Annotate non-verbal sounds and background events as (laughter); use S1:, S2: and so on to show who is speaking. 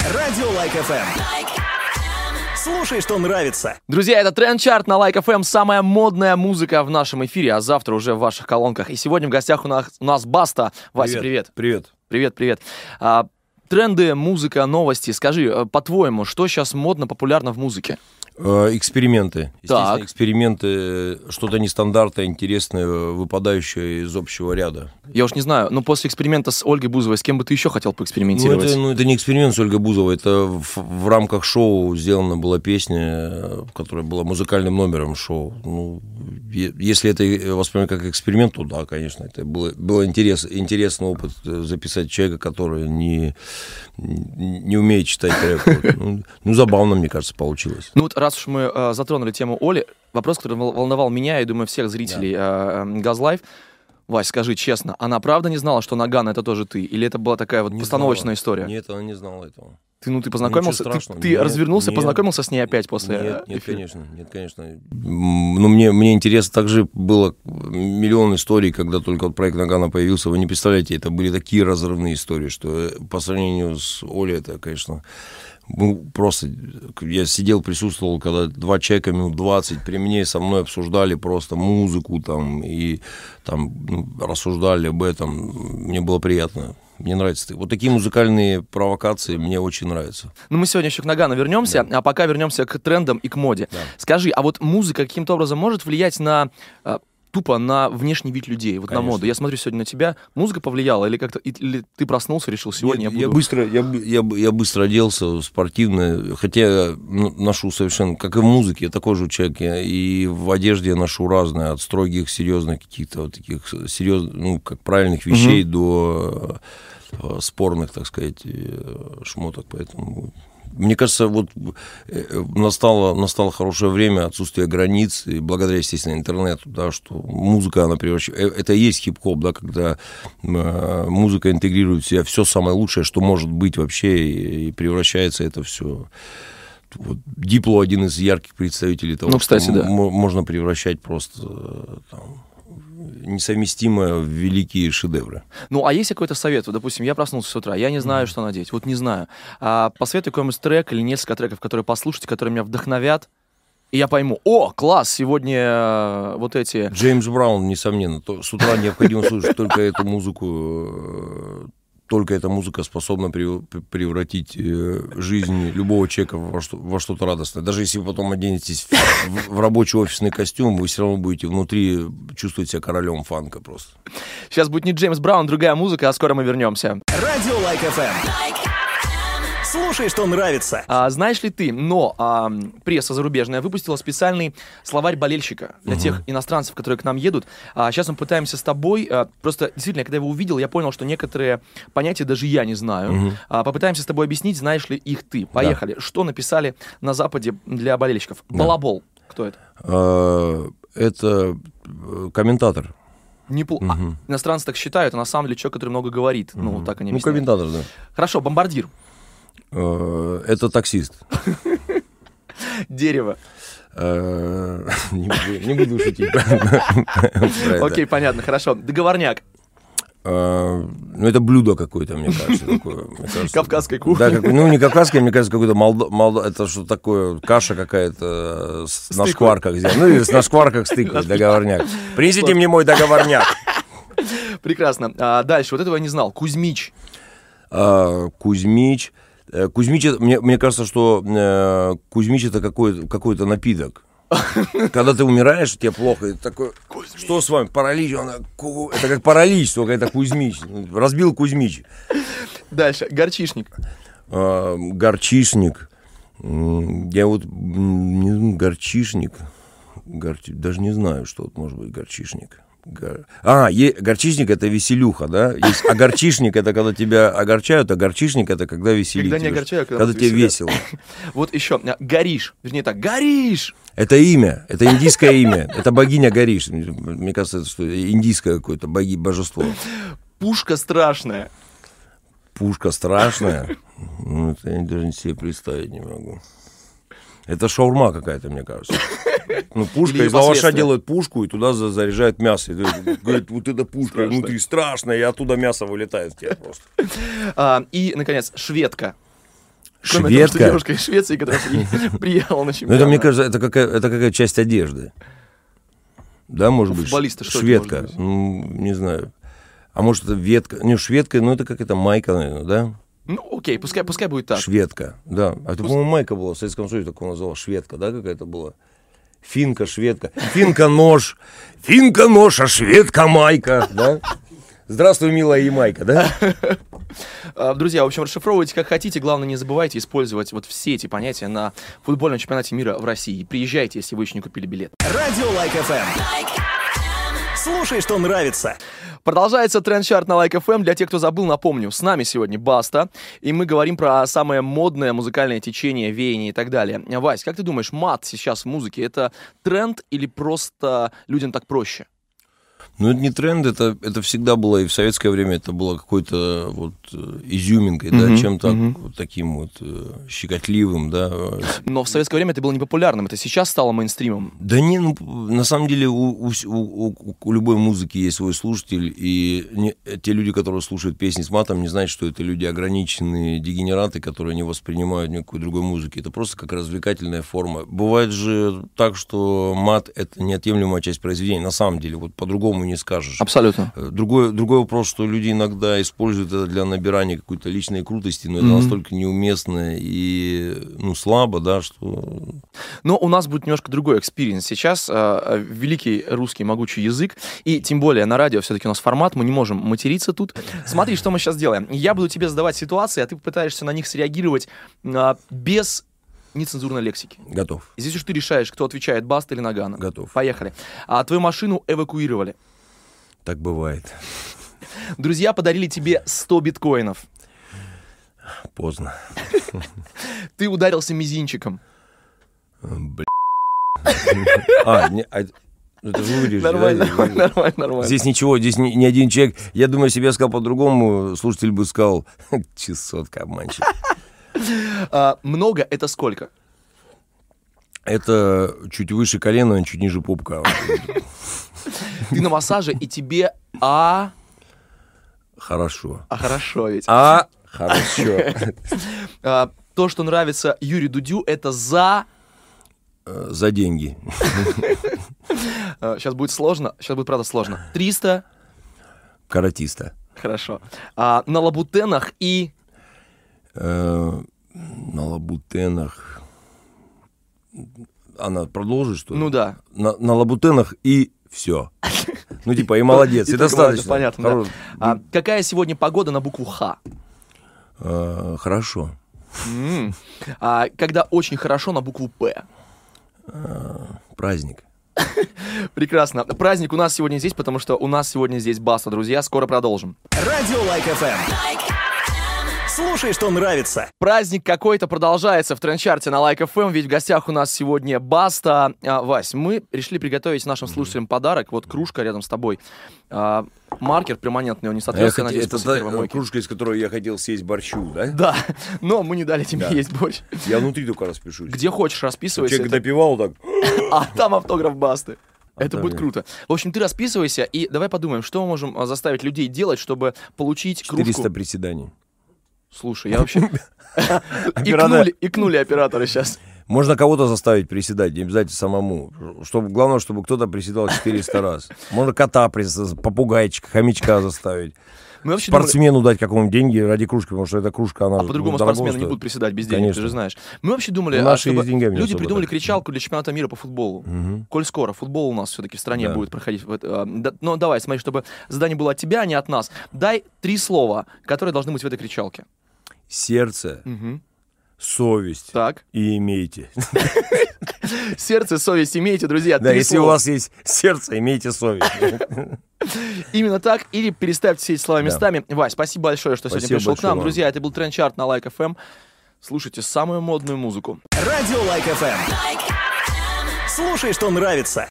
S1: Радио Лайк ФМ. Слушай, что нравится.
S2: Друзья, это Тренд-чарт на Like FM, самая модная музыка в нашем эфире, а завтра уже в ваших колонках. И сегодня в гостях у нас, у нас Баста. Вася, привет.
S3: Привет.
S2: Привет, привет. А, тренды, музыка, новости. Скажи, э, по-твоему, что сейчас модно, популярно в музыке?
S3: Э, Эксперименты. Естественно,
S2: Так.
S3: эксперименты, э, что-то нестандартное, интересное, выпадающее из общего ряда.
S2: Я уж не знаю, но после эксперимента с Ольгой Бузовой, с кем бы ты еще хотел
S3: Ну
S2: поэкспериментировать?
S3: это, ну, это не эксперимент с Ольгой Бузовой, это в, в рамках шоу сделана была песня, э, которая была музыкальным номером шоу. Ну, е- если это э, воспринимать как эксперимент, то да, конечно, это было, было интерес, интересный опыт э, записать человека, который не, не умеет читать рэп. Вот. Ну, ну, забавно, мне кажется, получилось.
S2: Ну вот раз уж мы э, затронули тему Оли, вопрос, который вол- волновал меня и, думаю, всех зрителей э, э, Газлайф. Вась, скажи честно, она правда не знала, что Нагана это тоже ты? Или это была такая вот
S3: Не
S2: постановочная
S3: знала.
S2: история?
S3: Нет, она не знала этого.
S2: Ты, ну ты познакомился,
S3: Ничего
S2: ты,
S3: страшного.
S2: ты
S3: Нет,
S2: развернулся,
S3: нет.
S2: познакомился с ней опять после
S3: Нет, нет,
S2: эфира?
S3: конечно, нет, конечно. М, Ну, мне, мне интересно, также было миллион историй, когда только вот проект Нагана появился. Вы не представляете, это были такие разрывные истории, что э, по сравнению с Олей, это, конечно, ну, просто к- я сидел, присутствовал, когда два человека минут 20 при мне со мной обсуждали просто музыку там и там ну, рассуждали об этом. Мне было приятно. Мне нравится. Вот такие музыкальные провокации мне очень нравятся.
S2: Ну, мы сегодня еще к Нагану вернемся, а пока вернемся к трендам и к моде. Скажи, а вот музыка каким-то образом может влиять на э, тупо на внешний вид людей, вот на
S3: Конечно.
S2: моду? Я смотрю сегодня на тебя, музыка повлияла или как-то, и- или ты проснулся, решил сегодня
S3: Нет,
S2: я буду...
S3: быстро, я, бы- я, бы- я быстро оделся спортивно, хотя я ну, ношу совершенно, как и в музыке, я такой же человек, я и в одежде я ношу разное, от строгих, серьезных каких-то вот таких серьезных, ну, как правильных вещей до э, спорных, так сказать, э, шмоток, поэтому... Мне кажется, вот э, э, настало, настало хорошее время отсутствия границ, и благодаря, естественно, интернету, да, что музыка, она превращается... Это и есть хип-хоп, да, когда э, музыка интегрирует в себя все самое лучшее, что может быть вообще, и, и превращается это все... Вот Дипло один из ярких представителей того,
S2: Ну, кстати,
S3: что
S2: да.
S3: м- можно превращать просто э, там, несовместимое в великие шедевры.
S2: Ну, а есть какой-то совет? Вот, допустим, я проснулся с утра, я не знаю, что надеть, вот не знаю. А, посоветуй какой-нибудь трек или несколько треков, которые послушать, которые меня вдохновят, и я пойму, о, класс, сегодня э, вот эти...
S3: Джеймс Браун, несомненно. То- с утра необходимо слушать только эту музыку. э, Только эта музыка способна прев- превратить э, жизнь любого человека во, что- во что-то радостное. Даже если вы потом оденетесь в, в- в рабочий офисный костюм, вы все равно будете внутри чувствовать себя королем фанка просто.
S2: Сейчас будет не Джеймс Браун, другая музыка, а скоро мы вернемся.
S1: Радио Лайк ФМ. Слушай, что нравится.
S2: А, знаешь ли ты, но а, м, пресса зарубежная выпустила специальный словарь болельщика для тех иностранцев, которые к нам едут. сейчас мы пытаемся с тобой, а, просто действительно, когда я его увидел, я понял, что некоторые понятия даже я не знаю. А, попытаемся с тобой объяснить, знаешь ли их ты. Поехали. Что написали на Западе для болельщиков? Балабол. Кто это?
S3: Э, это э, комментатор.
S2: Непл- а, иностранцы так считают, а на самом деле человек, который много говорит. Ну, так они
S3: Ну,
S2: объясняют.
S3: комментатор, да.
S2: Хорошо, бомбардир.
S3: Э, это таксист.
S2: Дерево.
S3: Э, (laughs) не, буду, не буду шутить. про это.
S2: (laughs) Окей, понятно, хорошо. Договорняк.
S3: А, Ну, это блюдо какое-то, мне кажется. такое, мне
S2: (laughs)
S3: кажется.
S2: Кавказской кухни.
S3: Да, как- ну, не кавказское, мне кажется, какое-то молдо... молдо- Это что такое, каша какая-то э, с- на
S2: тыквой.
S3: шкварках. сделано. Ну, или с- на шкварках с тыквой, договорняк. Принесите мне мой договорняк.
S2: Прекрасно. А, дальше, вот этого я не знал. Кузьмич.
S3: А, Кузьмич. Э, Кузьмич, это- мне, мне кажется, что э, Кузьмич это какой-то, какой-то напиток. Когда ты умираешь, тебе плохо, и ты такой, что с вами, паралич, Он, э, ку- это как паралич, только это Кузьмич, разбил Кузьмич.
S2: Дальше, горчишник.
S3: А, горчишник. М, Я вот м, не знаю, горчишник. Горчи- Даже не знаю, что вот может быть горчишник. Гор- А, е- горчишник это веселюха, да? Есть- а горчишник это когда тебя огорчают, а горчишник это когда веселитесь.
S2: Когда не огорчаю, а когда
S3: когда
S2: вот
S3: тебе
S2: веселят.
S3: весело.
S2: (laughs) Вот еще, а, горишь. Вернее так, горишь!
S3: Это имя, это индийское имя. Это богиня Гориш. Мне кажется, это что, индийское какое-то боги, божество.
S2: Пушка страшная.
S3: Пушка страшная. Ну, это я даже себе представить не могу. Это шаурма какая-то, мне кажется. Ну, пушка
S2: Или её
S3: из лаваша
S2: последствия.
S3: делают пушку и туда за- заряжают мясо. И говорят, говорят, вот эта пушка внутри страшная, и оттуда мясо вылетает в тебя просто.
S2: А, и, наконец, шведка. Кроме того, что
S3: Шведка?
S2: девушка из Швеции, которая при- (laughs) приехала на
S3: Ну,
S2: чемпионат.
S3: это, мне кажется, это какая- это какая часть одежды. Да, может
S2: Ну,
S3: быть,
S2: футболисты,
S3: ш-
S2: что это
S3: шведка.
S2: может быть?
S3: Ну, не знаю. А может, это ветка. Не, шведка, ну, это какая-то майка, наверное, да?
S2: Ну, окей, пускай, пускай будет так.
S3: Шведка, да. А это, по-моему, майка была. В Советском Союзе такого называла. Шведка, да, какая-то была? Финка, шведка. Финка нож. Финка нож, а шведка майка, да? Здравствуй, милая Ямайка, да?
S2: А, Друзья, в общем, расшифровывайте как хотите. Главное, не забывайте использовать вот все эти понятия на футбольном чемпионате мира в России. Приезжайте, если вы еще не купили билет.
S1: Радио Лайк ФМ. Слушай, что нравится.
S2: Продолжается тренд-чарт на Лайк FM. Для тех, кто забыл, напомню, с нами сегодня Баста, и мы говорим про самое модное музыкальное течение, веяние и так далее. Вась, как ты думаешь, мат сейчас в музыке — это тренд или просто людям так проще?
S3: Ну, это не тренд, это, это всегда было, и в советское время это было какой-то вот э, изюминкой, да,
S2: Мгм,
S3: чем-то
S2: мгм.
S3: вот таким вот э, щекотливым, да. э, с-
S2: Но в советское время это было непопулярным, это сейчас стало мейнстримом.
S3: Да не, ну, п- на самом деле у, у вс- у- у- у любой музыки есть свой слушатель, и не- те люди, которые слушают песни с матом, не знают, что это люди ограниченные дегенераты, которые не воспринимают никакой другой музыки. Это просто как развлекательная форма. Бывает же так, что мат — это неотъемлемая часть произведения, на самом деле, вот по-другому не скажешь.
S2: Абсолютно.
S3: Э, Другой, другой вопрос, что люди иногда используют это для набирания какой-то личной крутости, но это
S2: Мгм.
S3: настолько неуместно и ну, слабо, да, что...
S2: Но у нас будет немножко другой экспириенс сейчас. э, великий русский могучий язык. И тем более на радио все-таки у нас формат, мы не можем материться тут. Смотри, что мы сейчас делаем. Я буду тебе задавать ситуации, а ты попытаешься на них среагировать а, без нецензурной лексики.
S3: Готов,
S2: Здесь уж ты решаешь, кто отвечает, Баста или Нагана.
S3: готов.
S2: Поехали. А твою машину эвакуировали.
S3: Так бывает.
S2: Друзья подарили тебе 100 биткоинов.
S3: Поздно.
S2: Ты ударился мизинчиком.
S3: Э, бля. (laughs) А, не, а, это же вырежешь,
S2: (laughs)
S3: да?
S2: Нормально, нормально, нормально.
S3: Здесь ничего, здесь ни, ни один человек. Я думаю, если бы я сказал по-другому, слушатель бы сказал, (laughs) чесотка обманщик.
S2: А, много это сколько?
S3: Это чуть выше колена, чуть ниже пупка.
S2: Ты на массаже, и тебе... А...
S3: Хорошо.
S2: А хорошо ведь.
S3: А, (laughs) э, хорошо.
S2: А, то, что нравится Юрию Дудю, это за...
S3: Э, За деньги.
S2: сейчас э, будет сложно, сейчас будет правда сложно. 300,
S3: каратиста.
S2: хорошо. А, на лабутенах и...
S3: Э, на лабутенах. Она продолжит, что ли?
S2: Ну да.
S3: На, на лабутенах и все.
S2: (laughs)
S3: Ну, типа, и молодец,
S2: И
S3: и,
S2: только молодец,
S3: достаточно.
S2: понятно, да.
S3: Хоро-
S2: А, какая сегодня погода на букву Х?
S3: Э, хорошо.
S2: М. А, когда очень хорошо на букву П.
S3: Праздник.
S2: Прекрасно. Праздник у нас сегодня здесь, потому что у нас сегодня здесь Баста, друзья. Скоро продолжим.
S1: Радио Лайк ФМ. Слушай, что нравится.
S2: Праздник какой-то продолжается в трендчарте на Лайк ФМ, ведь в гостях у нас сегодня Баста. А, Вась, мы решили приготовить нашим слушателям подарок. Вот кружка рядом с тобой. А, маркер перманентный, он не
S3: А я
S2: соответствует,
S3: хотел-
S2: надеюсь,
S3: это
S2: после
S3: та
S2: первой мойки.
S3: кружка, из которой я хотел съесть борщу, да?
S2: Да, (laughs) но мы не дали тебе
S3: Да.
S2: есть борщ.
S3: Я внутри только распишусь.
S2: Где хочешь, расписывайся.
S3: Человек допивал так.
S2: это- А там автограф Басты.
S3: А
S2: Это
S3: там
S2: будет
S3: я.
S2: круто. В общем, ты расписывайся, и давай подумаем, что мы можем а, заставить людей делать, чтобы получить
S3: 400
S2: кружку.
S3: приседаний.
S2: Слушай, я
S3: (laughs)
S2: вообще... (laughs)
S3: Оператор-
S2: Икнули- Икнули операторы сейчас.
S3: Можно кого-то заставить приседать, не обязательно самому. Чтобы, главное, чтобы кто-то
S2: (laughs)
S3: приседал 400 раз. Можно кота, прис- попугайчика, хомячка заставить.
S2: Мы вообще думали-
S3: Спортсмену дать какому-нибудь деньги ради кружки, потому что эта кружка, она...
S2: А по-другому спортсмены не будут приседать без денег, ты
S3: Конечно.
S2: же знаешь. Мы вообще думали,
S3: Ну,
S2: а,
S3: наши и
S2: чтобы
S3: с деньгами не
S2: люди
S3: особо
S2: придумали
S3: так.
S2: кричалку для чемпионата мира по футболу. Коль скоро футбол у нас все-таки в стране
S3: Да.
S2: будет проходить. в это- а, да- Но давай, смотри, чтобы задание было от тебя, а не от нас. Дай три слова, которые должны быть в этой кричалке.
S3: Сердце,
S2: Мгм.
S3: совесть
S2: Так.
S3: и имейте. (laughs)
S2: Сердце, совесть имейте, друзья.
S3: Да,
S2: три
S3: если у
S2: слова.
S3: вас есть сердце, имейте совесть.
S2: Именно так, или переставьте все эти слова
S3: Да.
S2: местами. Вась, спасибо большое, что сегодня
S3: Спасибо
S2: пришел к
S3: большое
S2: нам.
S3: вам.
S2: Друзья, это был Тренд Чарт на Лайк ФМ. Слушайте самую модную музыку.
S1: Радио Лайк ФМ. Эм. Слушай, что нравится.